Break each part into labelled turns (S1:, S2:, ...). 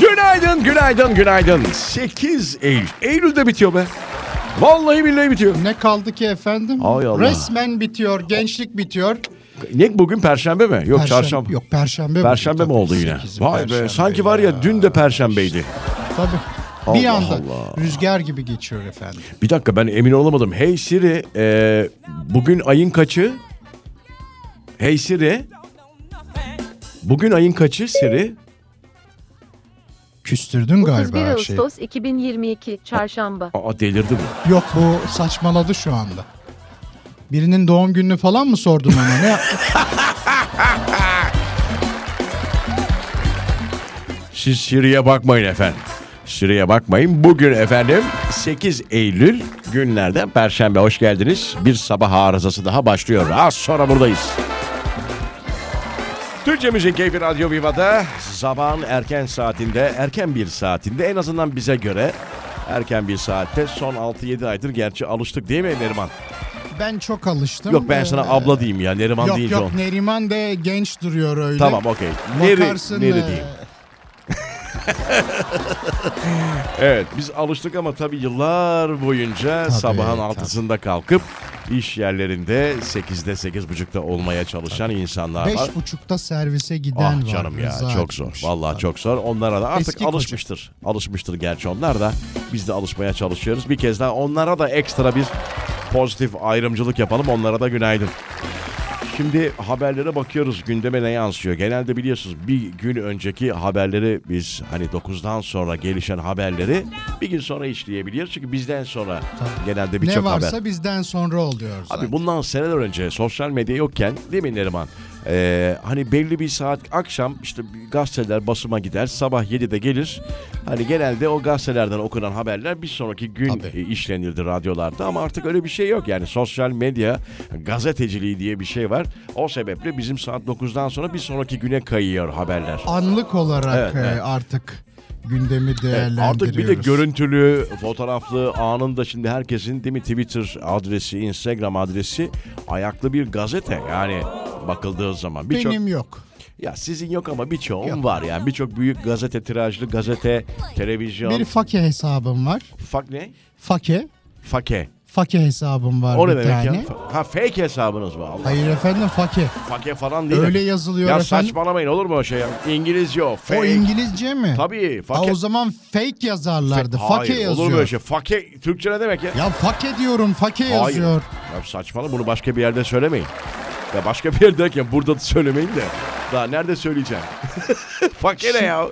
S1: Günaydın, günaydın, günaydın. 8 Eylül. Eylül'de bitiyor be. Vallahi billahi bitiyor.
S2: Ne kaldı ki efendim?
S1: Ay Allah.
S2: Resmen bitiyor, gençlik bitiyor.
S1: Ne bugün perşembe mi? Yok çarşamba.
S2: Yok perşembe.
S1: Perşembe mi
S2: bugün
S1: oldu
S2: tabii,
S1: yine?
S2: sekizi
S1: Vay be
S2: perşembe
S1: sanki
S2: ya.
S1: var ya dün de perşembeydi.
S2: Tabii. bir
S1: Allah
S2: anda
S1: Allah.
S2: rüzgar gibi geçiyor efendim.
S1: Bir dakika ben emin olamadım. Hey Siri e, bugün ayın kaçı? Hey Siri bugün ayın kaçı Siri?
S2: Küstürdün galiba şey.
S3: 31
S2: her şeyi.
S3: Ağustos 2022 Çarşamba.
S1: Aa delirdi bu.
S2: Yok bu saçmaladı şu anda. Birinin doğum gününü falan mı sordun ona? Ne?
S1: Siz Siri'ye bakmayın efendim. Siri'ye bakmayın. Bugün efendim 8 Eylül günlerden Perşembe. Hoş geldiniz. Bir sabah arızası daha başlıyor. Az sonra buradayız. Türkçe Müzik Keyfi Radyo Viva'da zaman erken saatinde, erken bir saatinde en azından bize göre erken bir saatte son 6-7 aydır gerçi alıştık değil mi Neriman?
S2: Ben çok alıştım.
S1: Yok ben sana
S2: Ee,
S1: abla diyeyim ya Neriman
S2: Yok
S1: deyince
S2: yok
S1: on.
S2: Neriman de genç duruyor öyle.
S1: Tamam okey. Neri,
S2: Bakarsın,
S1: Neri
S2: ee,
S1: diyeyim. Evet biz alıştık ama tabii yıllar boyunca sabahın
S2: tabii.
S1: altısında kalkıp iş yerlerinde 8'de 8.30'da olmaya çalışan insanlar var.
S2: Beş buçukta servise giden
S1: Ah
S2: var.
S1: canım ya
S2: Rıza
S1: çok zor.
S2: etmiş.
S1: Vallahi çok zor. Onlara da artık
S2: Eski koca.
S1: alışmıştır. Alışmıştır gerçi onlar da. Biz de alışmaya çalışıyoruz. Bir kez daha onlara da ekstra bir pozitif ayrımcılık yapalım. Onlara da günaydın. Şimdi haberlere bakıyoruz. Gündeme ne yansıyor? Genelde biliyorsunuz bir gün önceki haberleri biz hani 9'dan sonra gelişen haberleri bir gün sonra işleyebiliyoruz. Çünkü bizden sonra genelde
S2: Ne
S1: birçok haber.
S2: varsa bizden sonra oluyor zaten.
S1: Abi bundan seneler önce sosyal medya yokken değil mi Neriman? Ee, hani belli bir saat akşam işte gazeteler basıma gider sabah 7'de gelir. Hani genelde o gazetelerden okunan haberler bir sonraki gün e,
S2: Tabii.
S1: işlenirdi radyolarda ama artık öyle bir şey yok. Yani sosyal medya gazeteciliği diye bir şey var. O sebeple bizim saat 9'dan sonra bir sonraki güne kayıyor haberler.
S2: Anlık olarak
S1: Evet,
S2: e,
S1: evet.
S2: artık gündemi
S1: Evet,
S2: değerlendiriyoruz.
S1: Artık bir de görüntülü, fotoğraflı anında şimdi herkesin değil mi Twitter adresi, Instagram adresi ayaklı bir gazete yani bakıldığı zaman. Birçok
S2: Benim yok.
S1: ya sizin yok ama birçoğun
S2: Yok.
S1: var yani birçok büyük gazete tirajlı gazete, televizyon,
S2: Bir fake hesabım var.
S1: fak ne?
S2: Fake.
S1: Fake.
S2: Fake hesabım var
S1: O
S2: bir
S1: ne demek
S2: tane.
S1: ya? Ha fake hesabınız mı? Allah.
S2: Hayır efendim fake.
S1: Fake falan değil.
S2: Öyle yazılıyor
S1: ya
S2: efendim.
S1: saçmalamayın olur mu o şey ya? İngilizce o. Fake.
S2: O İngilizce mi?
S1: Tabii.
S2: Ha,
S1: Fake.
S2: o zaman fake yazarlardı.
S1: Hayır,
S2: fake
S1: Olur mu öyle
S2: yazıyor.
S1: şey? Fake Türkçe ne demek ya?
S2: Ya fake diyorum fake
S1: Hayır.
S2: yazıyor.
S1: Ya saçmalı bunu başka bir yerde söylemeyin. Ya başka bir yerde derken burada da söylemeyin de. Daha nerede söyleyeceğim? Fakir ne ya?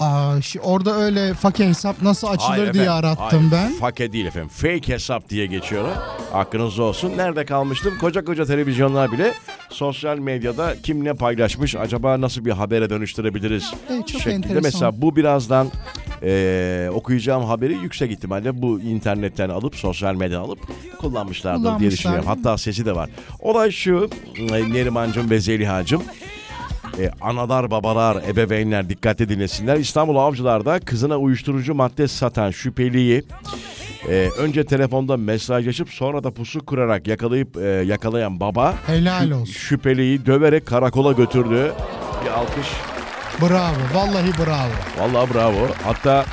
S2: Aa, şi- orada öyle fake hesap nasıl açılır
S1: Hayır
S2: diye
S1: efendim, hayır.
S2: arattım ben.
S1: Fake değil efendim. Fake hesap diye geçiyor. o. Aklınızda olsun. Nerede kalmıştım? Koca koca televizyonlar bile sosyal medyada kim ne paylaşmış acaba nasıl bir habere dönüştürebiliriz?
S2: Evet, çok
S1: şeklinde.
S2: enteresan.
S1: Mesela bu birazdan eee, okuyacağım haberi yüksek ihtimalle bu internetten alıp sosyal medyadan alıp kullanmışlardır diye
S2: Kullanmışlar,
S1: düşünüyorum.
S2: değil mi?
S1: Hatta sesi de var. Olay şu e, Nerimancım ve Zelihacım. E, analar, babalar, ebeveynler dikkatle dinlesinler. İstanbul Avcılar'da kızına uyuşturucu madde satan şüpheliyi e, önce telefonda mesajlaşıp sonra da pusu kurarak yakalayıp e, yakalayan baba
S2: Helal olsun.
S1: şüpheliyi döverek karakola götürdü. Bir alkış.
S2: Bravo. Vallahi bravo.
S1: Vallahi bravo. Hatta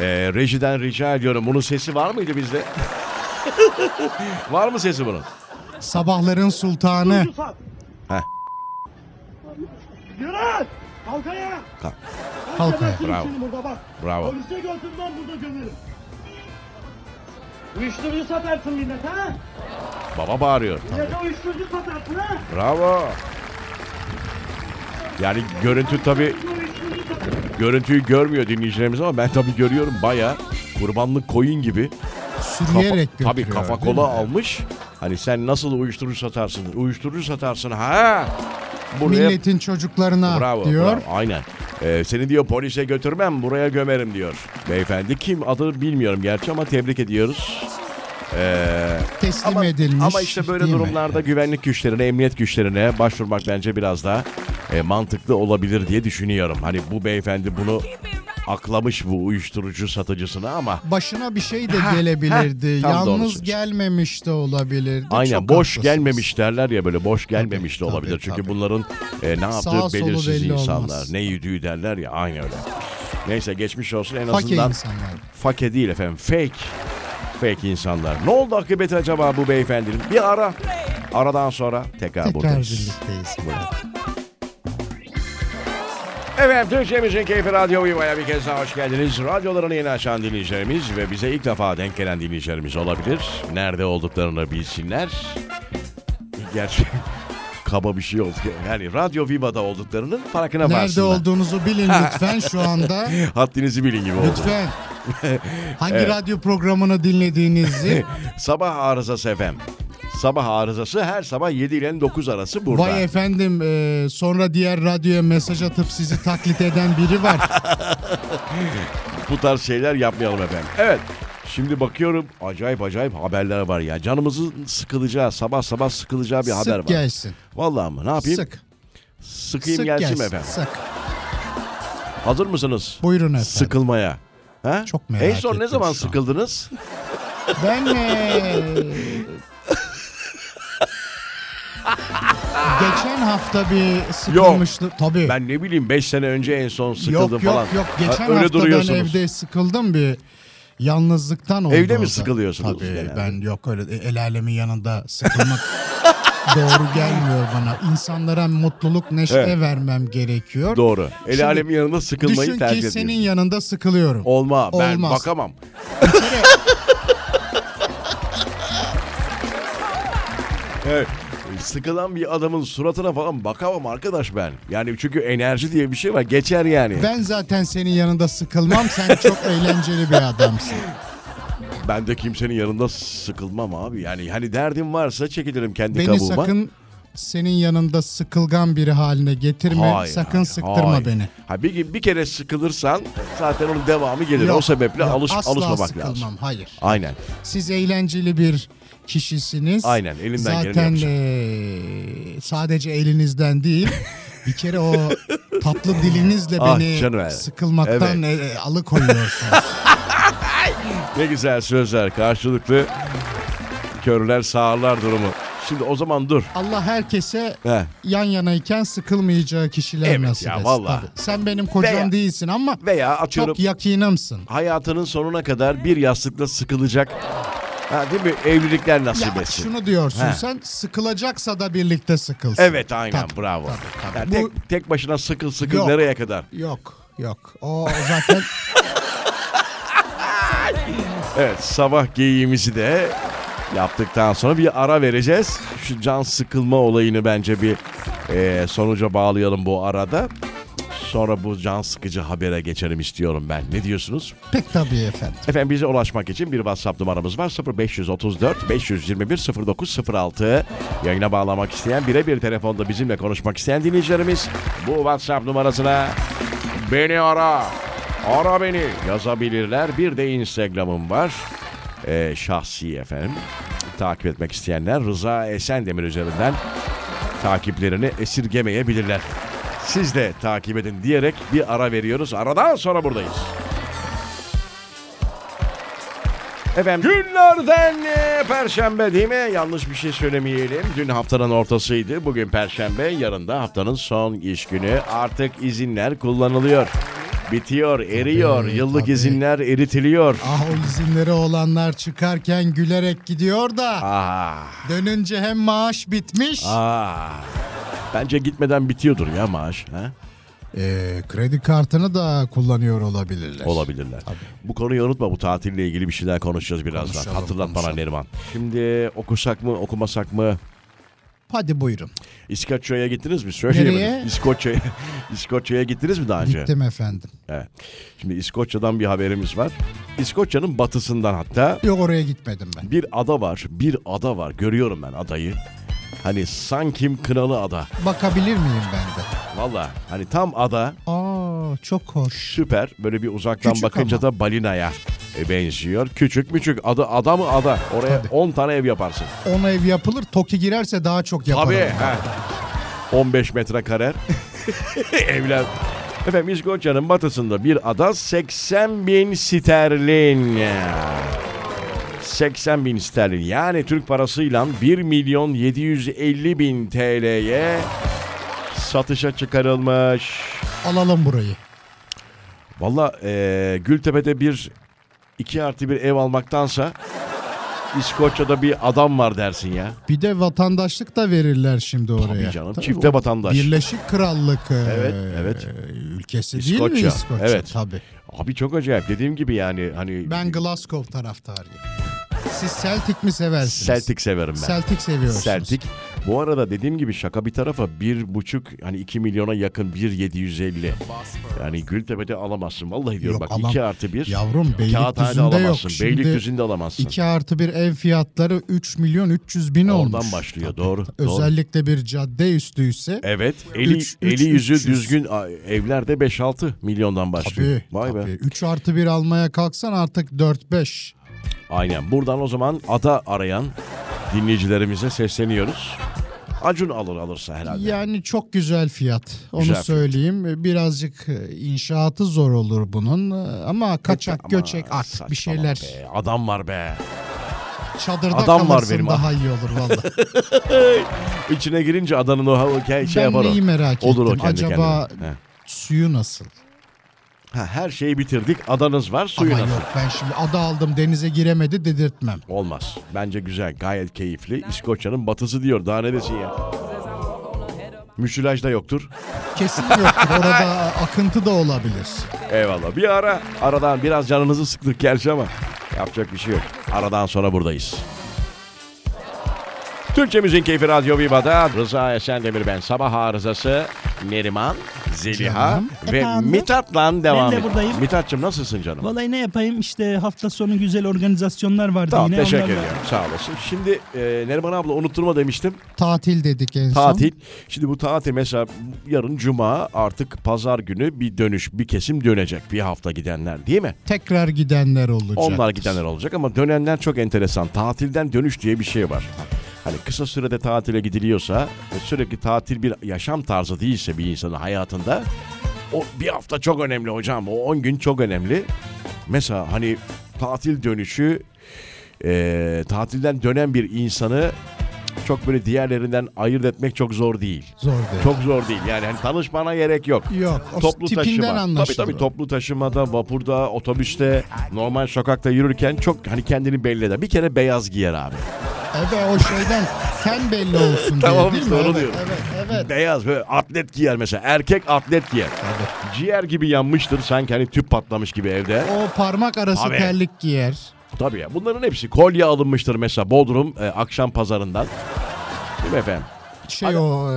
S1: e, rejiden rica ediyorum. Bunun sesi var mıydı bizde? var mı sesi bunun?
S2: Sabahların sultanı.
S4: Ufak.
S1: Heh.
S4: Yürü! Kalk ayağa!
S1: Kalk.
S2: Kalk
S4: ayağa.
S2: ayağa.
S1: Bravo.
S4: Seni burada bak.
S1: Bravo.
S4: Polise götür ben burada gömerim. Uyuşturucu satarsın millet ha?
S1: Baba bağırıyor.
S4: Millete uyuşturucu satarsın ha?
S1: Bravo. Yani görüntü tabi
S4: Uyuşturucu satarsın.
S1: görüntüyü görmüyor dinleyicilerimiz ama ben tabi görüyorum baya kurbanlık koyun gibi.
S2: Sürüyerek götürüyor.
S1: tabi kafa
S2: değil
S1: kola
S2: mi?
S1: almış. Hani sen nasıl uyuşturucu satarsın? Uyuşturucu satarsın ha. Buraya
S2: Milletin çocuklarına
S1: bravo,
S2: diyor.
S1: bravo, aynen. Ee, seni diyor polise götürmem buraya gömerim diyor. Beyefendi kim adını bilmiyorum gerçi ama tebrik ediyoruz.
S2: Teslim edilmiş.
S1: Ama işte böyle
S2: değil mi?
S1: durumlarda güvenlik güçlerine, emniyet güçlerine başvurmak bence biraz daha e, mantıklı olabilir diye düşünüyorum. Hani bu beyefendi bunu aklamış bu uyuşturucu satıcısını ama
S2: Başına bir şey de
S1: Ha,
S2: gelebilirdi.
S1: ha, tam doğrusu.
S2: Yalnız gelmemiş de olabilirdi.
S1: aynen
S2: Çok
S1: boş
S2: haklısınız.
S1: gelmemiş derler ya böyle boş gelmemiş de
S2: tabii,
S1: olabilir. Çünkü
S2: tabii.
S1: bunların e, ne yaptığı
S2: Sağa solu
S1: belirsiz
S2: belli
S1: insanlar.
S2: olmaz.
S1: Ne yediği derler ya aynı öyle. Neyse geçmiş olsun en
S2: Fakir
S1: azından
S2: insanlar.
S1: fake değil efendim fake. Fake insanlar. Ne oldu akıbeti acaba bu beyefendinin? Bir ara. Aradan sonra tekrar,
S2: Tekrar
S1: buradayız.
S2: birlikteyiz.
S1: Evet, Türkçemizin Keyfi Radyo Viva'ya bir kez daha hoş geldiniz. Radyolarını yeni açan dinleyicilerimiz ve bize ilk defa denk gelen dinleyicilerimiz olabilir. Nerede olduklarını bilsinler. Gerçi kaba bir şey oldu. Yani Radyo Viva'da olduklarının farkına
S2: Nerede
S1: varsınlar.
S2: olduğunuzu bilin lütfen şu anda.
S1: Haddinizi bilin gibi oldu.
S2: Lütfen. Hangi radyo programını dinlediğinizi
S1: Sabah arızası FM. Sabah arızası her sabah 7 ile 9 arası burada.
S2: Vay efendim e, sonra diğer radyoya mesaj atıp sizi taklit eden biri var.
S1: bu tarz şeyler yapmayalım efendim. Evet. Şimdi bakıyorum acayip acayip haberler var ya. Canımızın sıkılacağı, sabah sabah sıkılacağı bir haber var.
S2: Sık gelsin.
S1: Vallahi mı? Ne yapayım?
S2: Sık.
S1: Sıkayım
S2: Sık
S1: gelsin,
S2: gelsin.
S1: efendim.
S2: Sık.
S1: Hazır mısınız?
S2: Buyurun efendim.
S1: Sıkılmaya. Ha?
S2: Çok merak
S1: En son ne
S2: ettim şu
S1: zaman
S2: an.
S1: sıkıldınız?
S2: Ben e, Geçen hafta bir sıkılmıştı. Tabii.
S1: Ben ne bileyim 5 sene önce en son sıkıldım
S2: yok yok
S1: falan.
S2: yok. Geçen
S1: Ha,
S2: hafta ben evde sıkıldım bir yalnızlıktan oldu.
S1: Evde mi
S2: o da.
S1: sıkılıyorsunuz
S2: Tabii
S1: genelde?
S2: ben yok öyle E, el alemin yanında sıkılmak doğru gelmiyor bana. İnsanlara mutluluk neşe
S1: Evet.
S2: vermem gerekiyor.
S1: Doğru. El
S2: Şimdi
S1: alemin yanında sıkılmayı
S2: Düşün
S1: tercih
S2: ki
S1: ediyorsun.
S2: senin yanında sıkılıyorum.
S1: Olma. Ben
S2: Olmaz.
S1: bakamam. evet. Sıkılan bir adamın suratına falan bakamam arkadaş ben. Yani çünkü enerji diye bir şey var. Geçer yani.
S2: Ben zaten senin yanında sıkılmam. Sen çok eğlenceli bir adamsın.
S1: Ben de kimsenin yanında sıkılmam abi. Yani hani derdim varsa çekilirim kendi
S2: Beni
S1: kabuğuma.
S2: sakın senin yanında sıkılgan biri haline getirme.
S1: Hayır,
S2: sakın
S1: hayır,
S2: sıktırma
S1: hayır.
S2: beni.
S1: Ha bir, bir kere sıkılırsan zaten onun devamı gelir. o
S2: Yok,
S1: sebeple
S2: yok,
S1: alış,
S2: asla
S1: alışmamak
S2: sıkılmam.
S1: lazım.
S2: Hayır.
S1: Aynen.
S2: Siz eğlenceli bir kişisiniz.
S1: Aynen, elinden geleni
S2: Zaten
S1: yapacağım.
S2: eee, sadece elinizden değil. Bir kere o tatlı dilinizle
S1: Ah,
S2: beni
S1: canım.
S2: sıkılmaktan eee, alıkoyuyorsunuz.
S1: Ne güzel sözler karşılıklı. Körler sağırlar durumu. Şimdi o zaman dur.
S2: Allah herkese
S1: He.
S2: yan yanayken sıkılmayacağı kişiler
S1: Evet
S2: nasip
S1: ya,
S2: etsin.
S1: vallahi.
S2: Tabii. Sen benim kocam
S1: Veya-
S2: değilsin ama
S1: Veya atıyorum
S2: çok yakinimsin.
S1: hayatının sonuna kadar bir yastıkla sıkılacak. Ha, değil mi? Evlilikler
S2: Ya
S1: nasip
S2: bak
S1: etsin.
S2: şunu diyorsun
S1: He.
S2: sen sıkılacaksa da birlikte sıkılsın.
S1: Evet aynen
S2: Tabii,
S1: bravo.
S2: tabii, tabii.
S1: Yani
S2: Bu-
S1: tek, tek başına sıkıl sıkıl
S2: Yok.
S1: nereye kadar?
S2: Yok yok o zaten
S1: Evet sabah geyiğimizi de yaptıktan sonra bir ara vereceğiz. Şu can sıkılma olayını bence bir eee, sonuca bağlayalım bu arada. Sonra bu can sıkıcı habere geçelim istiyorum ben. Ne diyorsunuz?
S2: pek tabii efendim.
S1: Efendim bize ulaşmak için bir WhatsApp numaramız var. 0534 521 0906. Yayına bağlamak isteyen birebir telefonda bizimle konuşmak isteyen dinleyicilerimiz bu WhatsApp numarasına beni ara, ara beni yazabilirler. Bir de Instagram'ım var. Ee, şahsi efendim. Takip etmek isteyenler Rıza Esendemir üzerinden takiplerini esirgemeyebilirler. Siz de takip edin diyerek bir ara veriyoruz. Aradan sonra buradayız. Efendim günlerden e, perşembe değil mi? Yanlış bir şey söylemeyelim. Dün haftanın ortasıydı. Bugün perşembe. Yarın da haftanın son iş günü. Artık izinler kullanılıyor. Bitiyor, eriyor.
S2: Tabii,
S1: Yıllık
S2: tabii.
S1: izinler eritiliyor.
S2: Ah o izinleri olanlar çıkarken gülerek gidiyor da
S1: Ah,
S2: dönünce hem maaş bitmiş.
S1: ah. Bence gitmeden bitiyordur ya maaş. Ha?
S2: Ee, kredi kartını da kullanıyor olabilirler.
S1: Olabilirler. Bu konuyu unutma. Bu tatille ilgili bir şeyler konuşacağız birazdan.
S2: Konuşalım,
S1: Hatırlat bana
S2: konuşalım.
S1: Neriman. Şimdi okusak mı, okumasak mı?
S2: Hadi buyurun.
S1: İskoçya'ya gittiniz mi? Söyleyemedim.
S2: Nereye?
S1: İskoçya'ya İskoçya'ya gittiniz mi daha önce?
S2: Gittim efendim.
S1: Evet. Şimdi İskoçya'dan bir haberimiz var. İskoçya'nın batısından hatta
S2: Yok oraya gitmedim ben.
S1: bir ada var. Bir ada var. Görüyorum ben adayı. Hani sankim kınalı ada.
S2: Bakabilir miyim ben de?
S1: Valla hani tam ada
S2: Aa çok hoş.
S1: süper. Böyle bir uzaktan
S2: Küçük
S1: bakınca
S2: ama.
S1: da balinaya e, benziyor. Küçük müçük adı ada mı ada. Oraya
S2: Tabii.
S1: 10 tane ev yaparsın.
S2: Ona ev yapılır. Toki girerse daha çok yaparım.
S1: Tabii. he. 15 metrekare evler Efendim İskoçya'nın batısında bir ada 80 bin sterlin. 80 bin sterlin yani Türk parasıyla 1 milyon 750 bin TL'ye satışa çıkarılmış.
S2: Alalım burayı.
S1: Valla eee, Gültepe'de bir iki artı bir ev almaktansa İskoçya'da bir adam var dersin ya.
S2: Bir de vatandaşlık da verirler şimdi oraya.
S1: Tabii canım, çifte
S2: o
S1: vatandaş.
S2: Birleşik Krallık e,
S1: Evet, evet.
S2: ülkesi değil
S1: İskoçya,
S2: mi İskoçya?
S1: evet.
S2: Tabii.
S1: Abi çok acayip dediğim gibi yani hani
S2: Ben Glasgow taraftarıyım. Siz Celtic mi seversiniz?
S1: Celtic severim ben.
S2: Celtic seviyorsunuz.
S1: Celtic. Bu arada dediğim gibi şaka bir tarafa bir buçuk hani 2 milyona yakın bir 750. Yani Gültepe'de alamazsın. Vallahi diyorum
S2: Yok,
S1: bak
S2: alam-
S1: 2 artı 1.
S2: Yavrum
S1: Kağıthane'de
S2: Beylikdüzü'nde yok.
S1: alamazsın.
S2: Şimdi
S1: Beylikdüzü'nde alamazsın.
S2: 2 artı bir ev fiyatları 3 milyon 300 bin olmuş.
S1: Oradan başlıyor doğru. doğru.
S2: Özellikle bir cadde üstüyse
S1: Evet. Eli,
S2: Üç- üç-
S1: eli yüzü
S2: üç yüz.
S1: düzgün a- evlerde 5-6 milyondan başlıyor.
S2: tabii,
S1: Vay be.
S2: 3 artı 1 almaya kalksan artık 4-5.
S1: Aynen. Buradan o zaman ada arayan dinleyicilerimize sesleniyoruz. Acun alır alırsa herhalde.
S2: Yani çok güzel fiyat. Onu
S1: Güzel fiyat.
S2: söyleyeyim. Birazcık inşaatı zor olur bunun ama kaçak
S1: Ama
S2: göçek artık
S1: saçmalama
S2: bir şeyler.
S1: Be. Adam var be.
S2: Çadırda
S1: Adam var
S2: kalırsın
S1: benim.
S2: daha iyi olur vallahi.
S1: İçine girince adanın o ha- şey
S2: ben
S1: yapar o.
S2: neyi merak
S1: Olur o
S2: ettim.
S1: kendi
S2: Acaba
S1: kendine. He.
S2: suyu nasıl?
S1: Ha, her şeyi bitirdik. Adanız var suyu
S2: Ama
S1: nasıl?
S2: yok ben şimdi ada aldım denize giremedi dedirtmem.
S1: Olmaz. Bence güzel. Gayet keyifli. İskoçya'nın batısı diyor. Daha ne desin ya? Müsilaj da yoktur.
S2: Kesin yoktur. Orada akıntı da olabilir.
S1: Eyvallah. Bir ara. Aradan biraz canınızı sıktık gerçi ama yapacak bir şey yok. Aradan sonra buradayız. Türkçemizin keyfi Radyo Viva'da Rıza Esendemir ben. Sabah arızası Neriman, Zeliha
S2: Canım.
S1: ve
S5: Efendim?
S1: Mithat'la devam
S5: Ben de
S1: ediyor.
S5: buradayım.
S1: Mithat'cığım nasılsın canım?
S5: Vallahi ne yapayım işte hafta sonu güzel organizasyonlar vardı
S1: Tamam
S5: yine.
S1: teşekkür
S5: onlarla-
S1: ediyorum. Sağ olasın. Şimdi e, Neriman abla unutturma demiştim.
S2: Tatil dedik en son.
S1: Tatil. Şimdi bu tatil mesela yarın cuma artık pazar günü bir dönüş bir kesim dönecek bir hafta gidenler değil mi?
S2: Tekrar gidenler olacak.
S1: Onlar gidenler olacak ama dönenler çok enteresan. Tatilden dönüş diye bir şey var. Hani kısa sürede tatile gidiliyorsa ve sürekli tatil bir yaşam tarzı değilse bir insanın hayatında o bir hafta çok önemli hocam. O 10 gün çok önemli. Mesela hani tatil dönüşü eee, tatilden dönen bir insanı çok böyle diğerlerinden ayırt etmek çok zor değil.
S2: Zor değil.
S1: Çok zor değil. Yani hani tanışmana gerek yok.
S2: Yok, o
S1: toplu
S2: tipinden
S1: taşıma. Tabii
S2: anlaşılır
S1: tabii
S2: o.
S1: toplu taşımada, vapurda, otobüste, normal sokakta yürürken çok hani kendini belli eder. Bir kere beyaz giyer abi.
S2: Evet o şeyden sen belli olsun
S1: Tamam,
S2: diye değil
S1: işte
S2: mi? Hani
S1: onu
S2: evet,
S1: diyorum.
S2: evet, evet.
S1: Beyaz böyle atlet giyer mesela. Erkek atlet giyer. Ciğer gibi yanmıştır sanki hani tüp patlamış gibi evde.
S2: O parmak arası
S1: Abi.
S2: terlik giyer.
S1: Tabii ya bunların hepsi kolye alınmıştır mesela Bodrum e, akşam pazarından. Değil mi efendim?
S2: Şey
S1: Abi-
S2: o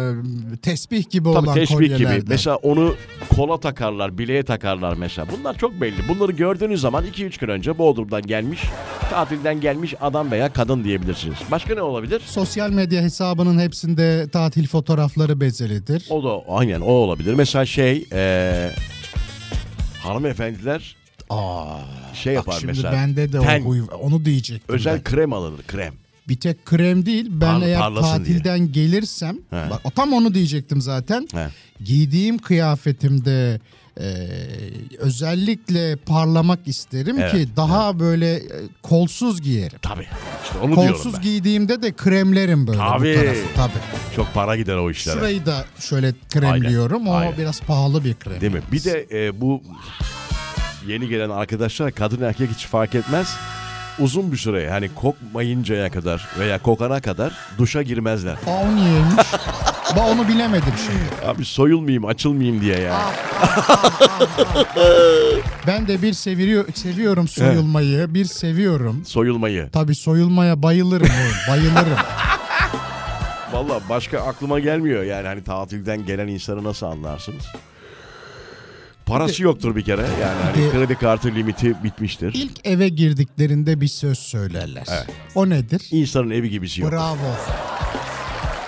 S2: e, tesbih gibi
S1: Tabii
S2: olan
S1: teşvik gibi.
S2: kolyelerden.
S1: Mesela onu kola takarlar, bileğe takarlar mesela. Bunlar çok belli. Bunları gördüğünüz zaman 2-3 gün önce Bodrum'dan gelmiş, tatilden gelmiş adam veya kadın diyebilirsiniz. Başka ne olabilir?
S2: Sosyal medya hesabının hepsinde tatil fotoğrafları bezelidir.
S1: O da aynen o olabilir. Mesela şey eee hanımefendiler şey yapar
S2: Şimdi
S1: mesela.
S2: bende de o
S1: ten,
S2: huy- onu diyecektim.
S1: özel
S2: ben.
S1: krem alınır krem.
S2: Bir tek krem değil ben
S1: Parla-
S2: eğer
S1: parlasın diye.
S2: tatilden gelirsem bak, tam onu diyecektim zaten.
S1: He.
S2: Giydiğim kıyafetimde e, özellikle parlamak isterim
S1: Evet,
S2: ki daha böyle e, kolsuz giyerim.
S1: Tabii. İşte onu diyorum
S2: Kolsuz
S1: ben.
S2: giydiğimde de kremlerim böyle
S1: Tabii.
S2: bu tarafı. Tabii.
S1: çok para gider o işlere.
S2: Şurayı da şöyle kremliyorum. O
S1: aynen.
S2: biraz pahalı bir krem.
S1: Değil mi? Bir de e, bu yeni gelen arkadaşlar kadın erkek hiç fark etmez. Uzun bir süre hani kokmayıncaya kadar veya kokana kadar duşa girmezler.
S2: Aa, o niyeymiş? ben onu bilemedim şimdi.
S1: Abi soyulmayayım, açılmayayım diye ya.
S2: Ah. Ben de bir seviyor, seviyorum soyulmayı. Bir seviyorum.
S1: Soyulmayı.
S2: Tabii soyulmaya bayılırım. oğlum, bayılırım.
S1: Valla başka aklıma gelmiyor yani hani tatilden gelen insanı nasıl anlarsınız? Parası yoktur bir kere yani hani
S2: Bir de-
S1: kredi kartı limiti bitmiştir.
S2: İlk eve girdiklerinde bir söz söylerler. O nedir?
S1: İnsanın evi gibisi yok.
S2: Bravo.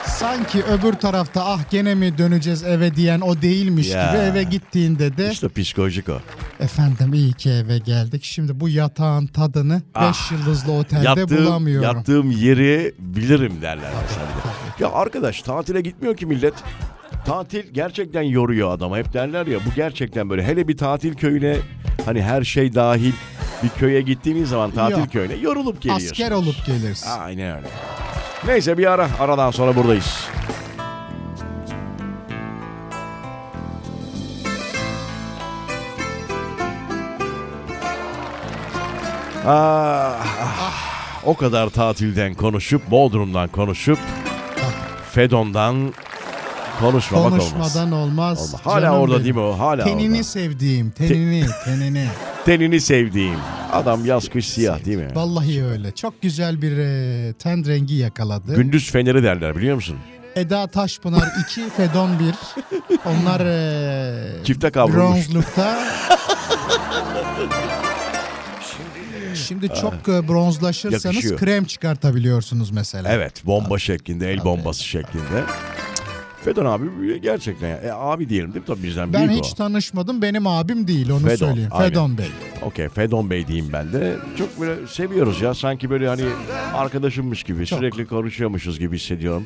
S2: Sanki öbür tarafta ah gene mi döneceğiz eve diyen o değilmiş
S1: Ya.
S2: gibi eve gittiğinde de
S1: İşte psikolojik o.
S2: Efendim iyi ki eve geldik. Şimdi bu yatağın tadını 5
S1: Ah.
S2: yıldızlı otelde
S1: Yattığım,
S2: bulamıyorum.
S1: yattığım yeri bilirim derler mesela. bir de. Ya arkadaş tatile gitmiyor ki millet. Tatil gerçekten yoruyor adama. Hep derler ya bu gerçekten böyle. Hele bir tatil köyüne hani her şey dahil bir köye gittiğiniz zaman tatil
S2: Yok.
S1: köyüne yorulup geliyorsunuz.
S2: Asker olup gelirsin.
S1: Aynen öyle. Neyse bir ara. Aradan sonra buradayız. Ah, ah. o kadar tatilden konuşup, Bodrum'dan konuşup, Fedon'dan konuşmamak olmaz.
S2: Konuşmadan olmaz.
S1: Olmaz. Hala
S2: Canım
S1: orada
S2: benim.
S1: değil mi o? Hala
S2: tenini
S1: orada.
S2: sevdiğim, tenini, tenini.
S1: Tenini sevdiğim. Adam yaz kış siyah değil mi?
S2: Vallahi öyle. Çok güzel bir e, ten rengi yakaladı.
S1: Gündüz feneri derler biliyor musun?
S2: Eda Taşpınar 2, Fedon 1. Onlar e,
S1: Çifte kavrulmuş.
S2: bronzlukta. Şimdi çok e, bronzlaşırsanız
S1: Yakışıyor.
S2: krem çıkartabiliyorsunuz mesela.
S1: Evet bomba şeklinde el bombası şeklinde. Fedon abi gerçekten ya. E, abi diyelim değil mi? Tabii bizden
S2: Ben
S1: büyük
S2: hiç
S1: o.
S2: tanışmadım. Benim abim değil onu
S1: Fedon,
S2: söyleyeyim.
S1: aynen.
S2: Fedon Bey.
S1: Okey Fedon Bey diyeyim ben de. Çok böyle seviyoruz ya. Sanki böyle hani arkadaşımmış gibi
S2: Çok.
S1: sürekli konuşuyormuşuz gibi hissediyorum.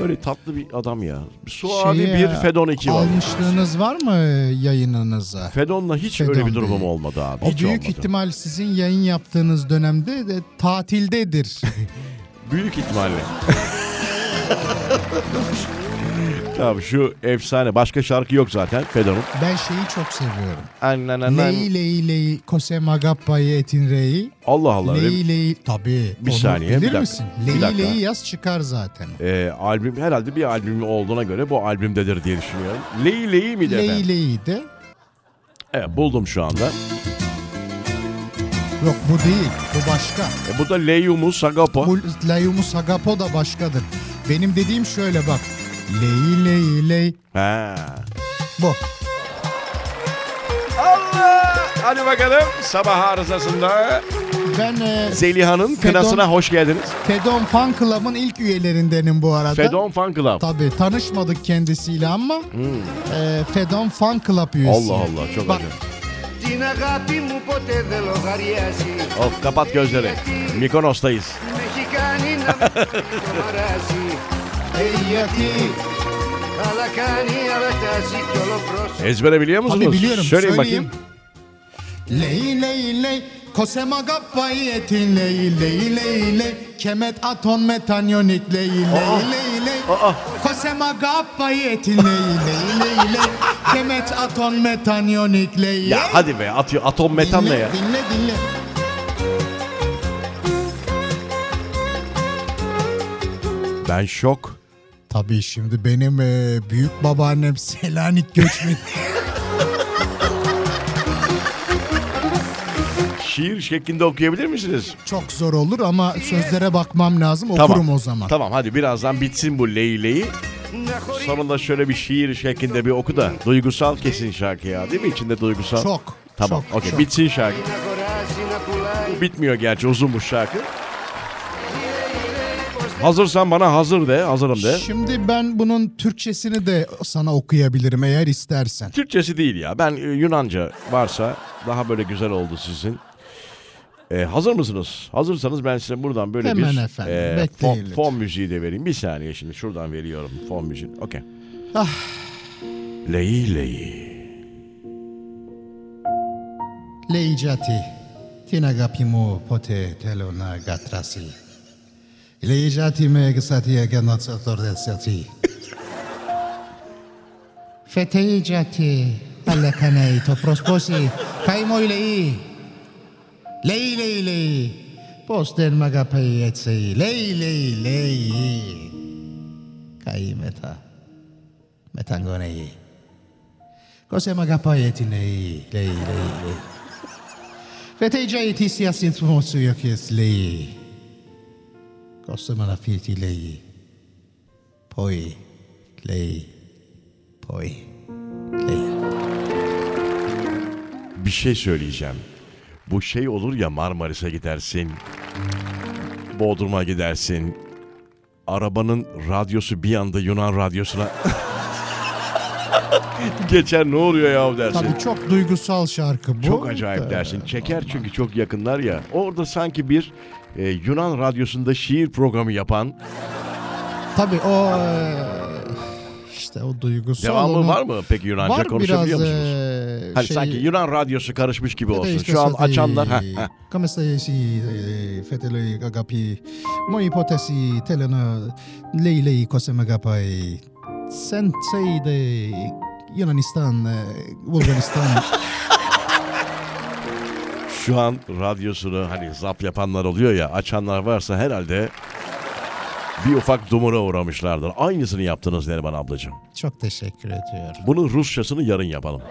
S1: Böyle tatlı bir adam ya. Su abi
S2: Şeyi, e,
S1: bir Fedon iki var.
S2: Almışlığınız var mı e, yayınınıza?
S1: Fedon'la hiç
S2: Fedon
S1: öyle bir durumum
S2: Bey.
S1: olmadı abi.
S2: O
S1: Hiç
S2: büyük
S1: olmadı.
S2: ihtimal sizin yayın yaptığınız dönemde de tatildedir.
S1: Büyük ihtimalle. Tamam şu efsane. Başka şarkı yok zaten Fedon'un.
S2: ben şeyi çok seviyorum.
S1: Annananan.
S2: Ley ley ley Kose Magappa'yı Etin Rey'i.
S1: Allah Allah. öyle-
S2: Ley ley tabii.
S1: Bir
S2: onu
S1: saniye, bir
S2: Bilir
S1: dakika,
S2: misin?
S1: bir
S2: Ley
S1: dakika.
S2: ley yaz çıkar zaten.
S1: e, albüm herhalde bir albümü olduğuna göre bu albümdedir diye düşünüyorum. Ley Ley miydi
S2: Ley
S1: efendim?
S2: ley de
S1: Evet buldum şu anda.
S2: yok bu değil bu başka.
S1: E, bu da Leyumu Sagapo.
S2: Bu Leyumu Sagapo da başkadır. Benim dediğim şöyle bak. Ley ley ley
S1: Ha.
S2: bu.
S1: Allah! Hadi bakalım sabah arızasında
S2: Ben e,
S1: Zeliha'nın
S2: Fedon-
S1: kınasına hoş geldiniz.
S2: Fedon Fan Club'ın ilk üyelerindenim bu arada.
S1: Fedon Fan Club.
S2: Tabii tanışmadık kendisiyle ama e, Fedon Fan Club üyesi.
S1: Hmm. Allah Allah çok
S2: Bak,
S1: acayip.
S6: Την αγάπη μου ποτέ δεν λογαριάζει
S1: Of kapat gözleri. Mikonos'tayız.
S6: Με έχει κάνει να το μαράζει Ε, γιατί Αλλά κάνει, αλλά τάζει κι όλο πρόσωπο
S1: Ezbere biliyor musunuz?
S2: Tabii biliyorum.
S1: Söyleyin
S2: söyleyeyim.
S1: bakayım.
S2: Ley ley ley Kosema gappayı etin ley ley ley ley Kemet aton metanyonik ley ley ley ley Kosema gappayı etin ley ley ley ley Kemet aton metanyonik ley ley
S1: Ya hadi be atıyor atom metan ne
S2: dinle,
S1: ya?
S2: Dinle dinle.
S1: Ben şok.
S2: Tabii şimdi benim e, büyük babaannem Selanik göçmeni.
S1: Şiir şeklinde okuyabilir misiniz?
S2: Çok zor olur ama sözlere bakmam lazım. Okurum o zaman.
S1: Tamam hadi birazdan bitsin bu leyleyi. Sonunda şöyle bir şiir şeklinde bir oku da duygusal kesin şarkı ya değil mi? İçinde duygusal.
S2: Çok.
S1: Tamam
S2: çok,
S1: okey
S2: çok.
S1: bitsin şarkı.
S6: Να αγοράζει, να πουλάει
S1: Bitmiyor gerçi uzunmuş şarkı. Hazırsan bana hazır de hazırım de.
S2: Şimdi ben bunun Türkçesini de sana okuyabilirim eğer istersen.
S1: Türkçesi değil ya ben e, Yunanca varsa daha böyle güzel oldu sizin. E, hazır mısınız? Hazırsanız ben size buradan böyle
S2: Hemen
S1: bir
S2: efendim,
S1: e,
S2: bekleyin
S1: fon,
S2: lütfen.
S1: fon müziği de vereyim. Bir saniye şimdi şuradan veriyorum fon müziğini. Okey.
S2: Ah.
S1: Leyi leyi.
S2: Leicati, tina gapimu pote telona gatrasi. Leicati me gsati e genatsator desati. Feteicati, allekanei to prosposi, kaimo ilei. Lei, lei, lei. Posten magapei etsei. Lei, lei, lei. Kai meta. Metangonei. Kose magapai etinei. Lei, lei, lei. Fetejai ti si asint mosu yok es lei. Kosta mana filti lei. Poi lei. Poi lei.
S1: Bir şey söyleyeceğim. Bu şey olur ya Marmaris'e gidersin. Bodrum'a gidersin. Arabanın radyosu bir anda Yunan radyosuna geçer ne oluyor ya dersin.
S2: Tabii çok duygusal şarkı bu.
S1: Çok acayip dersin. Çeker çünkü çok yakınlar ya. Orada sanki bir e, Yunan radyosunda şiir programı yapan
S2: Tabii o e, işte o duygusu.
S1: Devamı var mı peki Yunanca
S2: Var biraz
S1: konuşabiliyor musunuz?
S2: eee,
S1: Hani
S2: şey-
S1: sanki Yunan radyosu karışmış gibi
S2: Fede
S1: olsun.
S2: işte
S1: Şu an
S2: sadi-
S1: açanlar... Heh, heh.
S2: Kamestesi, eee, fetele agapi, moi hipotesi telena lei lei kose megapai. Sensei de Yunanistan, eee, Bulgaristan.
S1: Şu an radyosunu hani zap yapanlar oluyor ya açanlar varsa herhalde bir ufak dumura uğramışlardır. Aynısını yaptınız Neriman ablacığım.
S2: Çok teşekkür ediyorum.
S1: Bunu Rusçasını yarın yapalım.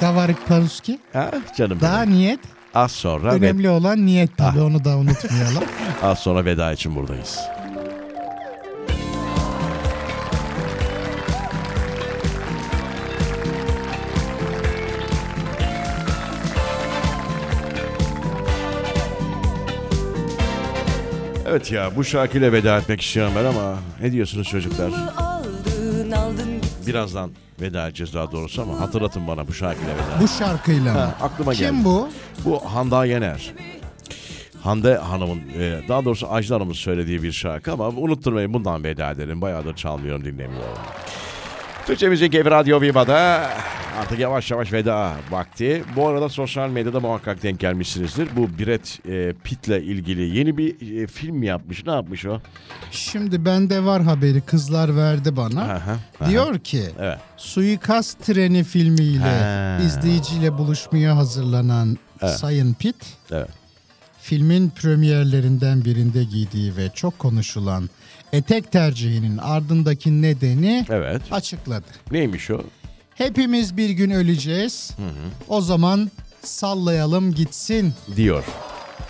S2: Kavarik Paruski.
S1: Ha canım
S2: Daha
S1: benim.
S2: niyet.
S1: Az sonra ve-
S2: Önemli olan niyet tabii
S1: Ah.
S2: onu da unutmayalım.
S1: az sonra veda için buradayız. Evet ya bu şarkıyla veda etmek istiyorum ben ama ne diyorsunuz çocuklar?
S7: Aldın aldın
S1: Birazdan veda edeceğiz daha doğrusu ama hatırlatın bana bu şarkıyla veda.
S2: Bu şarkıyla mı?
S1: Ha, aklıma
S2: Kim
S1: geldi.
S2: bu?
S1: Bu Handa Yener. Hande Hanım'ın, e, daha doğrusu Ajda Hanım'ın söylediği bir şarkı ama unutturmayın bundan veda edelim. Bayağıdır çalmıyorum, dinlemiyorum. Türkçe Müzik Evi Radyo Viva'da artık yavaş yavaş veda vakti. Bu arada sosyal medyada muhakkak denk gelmişsinizdir. Bu Brett e, Pitt'le ilgili yeni bir e, film mi yapmış? Ne yapmış o?
S2: Şimdi bende var haberi kızlar verdi bana.
S1: Aha.
S2: Diyor ki
S1: Evet.
S2: suikast treni filmiyle
S1: Ha.
S2: izleyiciyle buluşmaya hazırlanan Sayın Pitt
S1: Evet.
S2: filmin premierlerinden birinde giydiği ve çok konuşulan etek tercihinin ardındaki nedeni
S1: Evet.
S2: açıkladı.
S1: Neymiş o?
S2: Hepimiz bir gün öleceğiz. O zaman sallayalım gitsin
S1: Diyor.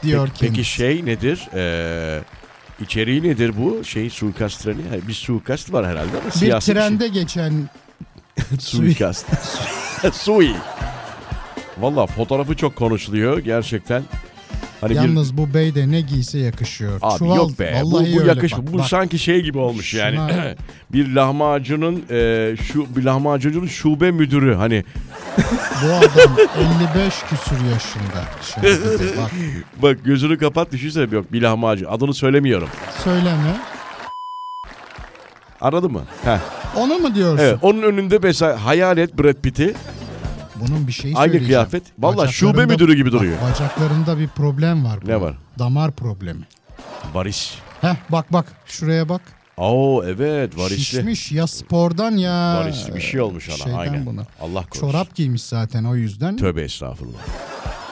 S2: diyor
S1: Peki, peki
S2: kendisi.
S1: şey nedir? Ee, içeriği nedir bu? Şey suikast treni. Ha, Bir suikast var herhalde ama
S2: bir
S1: siyasi şey.
S2: trende geçen
S1: bir şey. suikast. Sui. Valla fotoğrafı çok konuşuluyor gerçekten. Hani bir
S2: yalnız bu bey de ne giyse yakışıyor.
S1: Abi
S2: Çuval,
S1: yok be bu,
S2: vallahi
S1: bu
S2: öyle.
S1: yakış
S2: Bak,
S1: bu
S2: bak.
S1: sanki şey gibi olmuş yani
S2: Şuna-
S1: bir lahmacunun e, şu bir lahmacuncunun şube müdürü hani
S2: Bu adam 55 küsür yaşında. Şimdi de bak
S1: bak gözünü kapat düşünsene yok bir lahmacun adını söylemiyorum
S2: söyleme.
S1: aradı mı? Heh.
S2: Onu mu diyorsun?
S1: Evet onun önünde mesela hayal et Brad Pitt'i
S2: Bunun bir şeyi
S1: Aynı
S2: söyleyeceğim.
S1: kıyafet. Vallahi şube
S2: Bacaklarında-
S1: müdürü gibi duruyor.
S2: Bak, bacaklarında bir problem var. bunun.
S1: Ne var?
S2: Damar problemi.
S1: Barış.
S2: Heh bak bak şuraya bak.
S1: Oo evet varişli.
S2: Şişmiş ya spordan ya.
S1: Varişli bir şey olmuş ona
S2: Şeyden
S1: aynen.
S2: buna.
S1: Allah korusun.
S2: Çorap giymiş zaten o yüzden.
S1: Tövbe estağfurullah.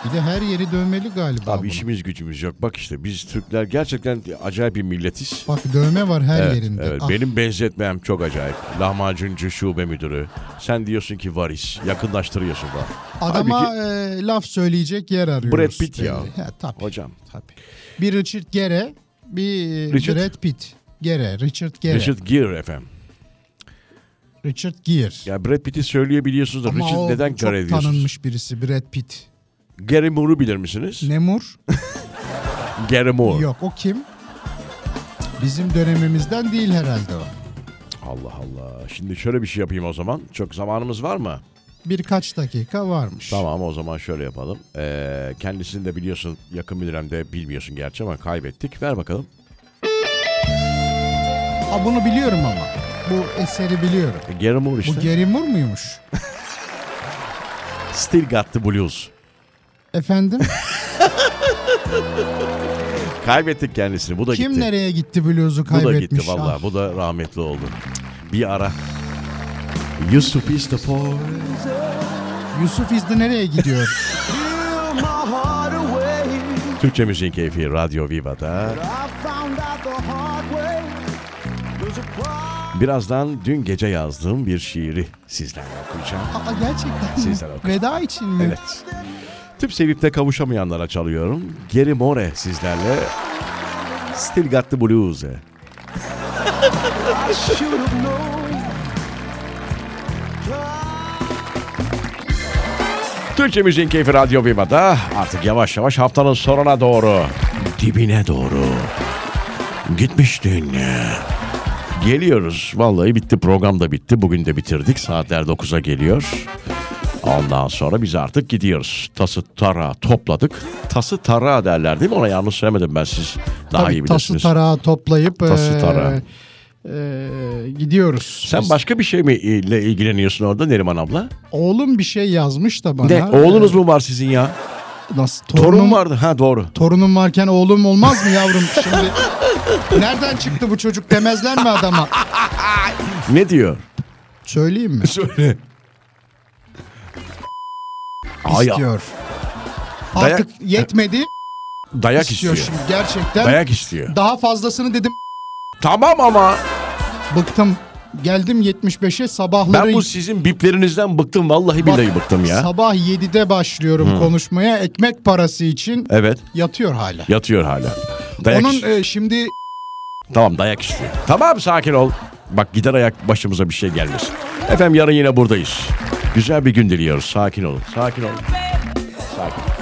S2: Bir de her yeri dövmeli galiba.
S1: Abi
S2: bunun.
S1: işimiz gücümüz yok. Bak işte biz Türkler gerçekten acayip bir milletiz.
S2: Bak dövme var her
S1: Evet,
S2: yerinde.
S1: evet.
S2: Ah,
S1: Benim benzetmem çok acayip. Lahmacuncu şube müdürü. Sen diyorsun ki varis. Yakınlaştırıyorsun da.
S2: adama
S1: Halbuki-
S2: e, laf söyleyecek yer arıyoruz.
S1: Brad Pitt ya.
S2: Ha, tabii.
S1: Hocam.
S2: Tabii. Bir Richard Gere, bir
S1: Richard?
S2: Brad Pitt. Gere, Richard Gere. Richard,
S1: Richard Gere efendim.
S2: Gere.
S1: Ya Brad Pitt'i söyleyebiliyorsunuz da
S2: Ama
S1: Richard
S2: o
S1: neden
S2: çok
S1: Gere ediyorsunuz?
S2: tanınmış birisi Brad Pitt.
S1: Gary Moore'u bilir misiniz?
S2: Nemur?
S1: Gary Moore.
S2: Yok o kim? Bizim dönemimizden değil herhalde o.
S1: Allah Allah. Şimdi şöyle bir şey yapayım o zaman. Çok zamanımız var mı?
S2: Birkaç dakika varmış.
S1: Tamam o zaman şöyle yapalım. Ee, kendisini de biliyorsun yakın bir dönemde bilmiyorsun gerçi ama kaybettik. Ver bakalım.
S2: Ha, bunu biliyorum ama. Bu eseri biliyorum.
S1: E, Gary Moore işte.
S2: Bu Gary Moore muymuş?
S1: Still Got the Blues.
S2: Efendim?
S1: Kaybettik kendisini. Bu da
S2: Kim
S1: gitti.
S2: nereye gitti bluzu
S1: Bu da
S2: kaybetmiş?
S1: gitti valla.
S2: Ah,
S1: Bu da rahmetli oldu. Bir ara. Yusuf is the boy.
S2: Ah, Yusuf İzdi nereye gidiyor?
S1: Türkçe Müziğin Keyfi Radyo Viva'da. Birazdan dün gece yazdığım bir şiiri sizlerle okuyacağım.
S2: Aa, gerçekten mi?
S1: Sizler okuyun.
S2: Veda için mi?
S1: Evet. Tüm sevip de kavuşamayanlara çalıyorum. Geri More sizlerle. Still Got the Blues. Türkçe Müziğin Keyfi Radyo Viva'da artık yavaş yavaş haftanın sonuna doğru, dibine doğru gitmiştin. Geliyoruz. Vallahi bitti program da bitti. Bugün de bitirdik. Saatler 9'a geliyor. Ondan sonra biz artık gidiyoruz. Tası tara topladık. Tası tara derler değil mi? Ona yanlış söylemedim ben siz. Daha
S2: Tabii
S1: iyi
S2: tası
S1: bilirsiniz.
S2: tarağı toplayıp
S1: Tası
S2: eee,
S1: tarağı.
S2: e, gidiyoruz.
S1: Sen başka bir şey mi ile ilgileniyorsun orada Neriman abla?
S2: Oğlum bir şey yazmış da bana.
S1: De oğlunuz mu var sizin ya?
S2: Nasıl? Torunum,
S1: Torun vardı. Ha doğru.
S2: Torunum varken oğlum olmaz mı yavrum? Şimdi nereden çıktı bu çocuk demezler mi adama?
S1: Ne diyor?
S2: Söyleyeyim mi?
S1: Söyle. Ay,
S2: İstiyor.
S1: Dayak-
S2: Artık yetmedi.
S1: dayak istiyor.
S2: istiyor şimdi gerçekten.
S1: Dayak istiyor.
S2: Daha fazlasını dedim.
S1: tamam ama
S2: Bıktım. Geldim 75'e sabahları.
S1: ben bu sizin biplerinizden bıktım vallahi billahi
S2: Bak,
S1: bıktım ya.
S2: Sabah 7'de başlıyorum konuşmaya. Ekmek parası için
S1: Evet.
S2: yatıyor hala.
S1: Yatıyor hala. Dayak
S2: Onun
S1: istiyor.
S2: e, şimdi
S1: Tamam dayak istiyor. Tamam sakin ol. Bak gider ayak başımıza bir şey gelmesin. Efendim yarın yine buradayız. Güzel bir gün diliyoruz. Sakin olun. Sakin olun. Sakin.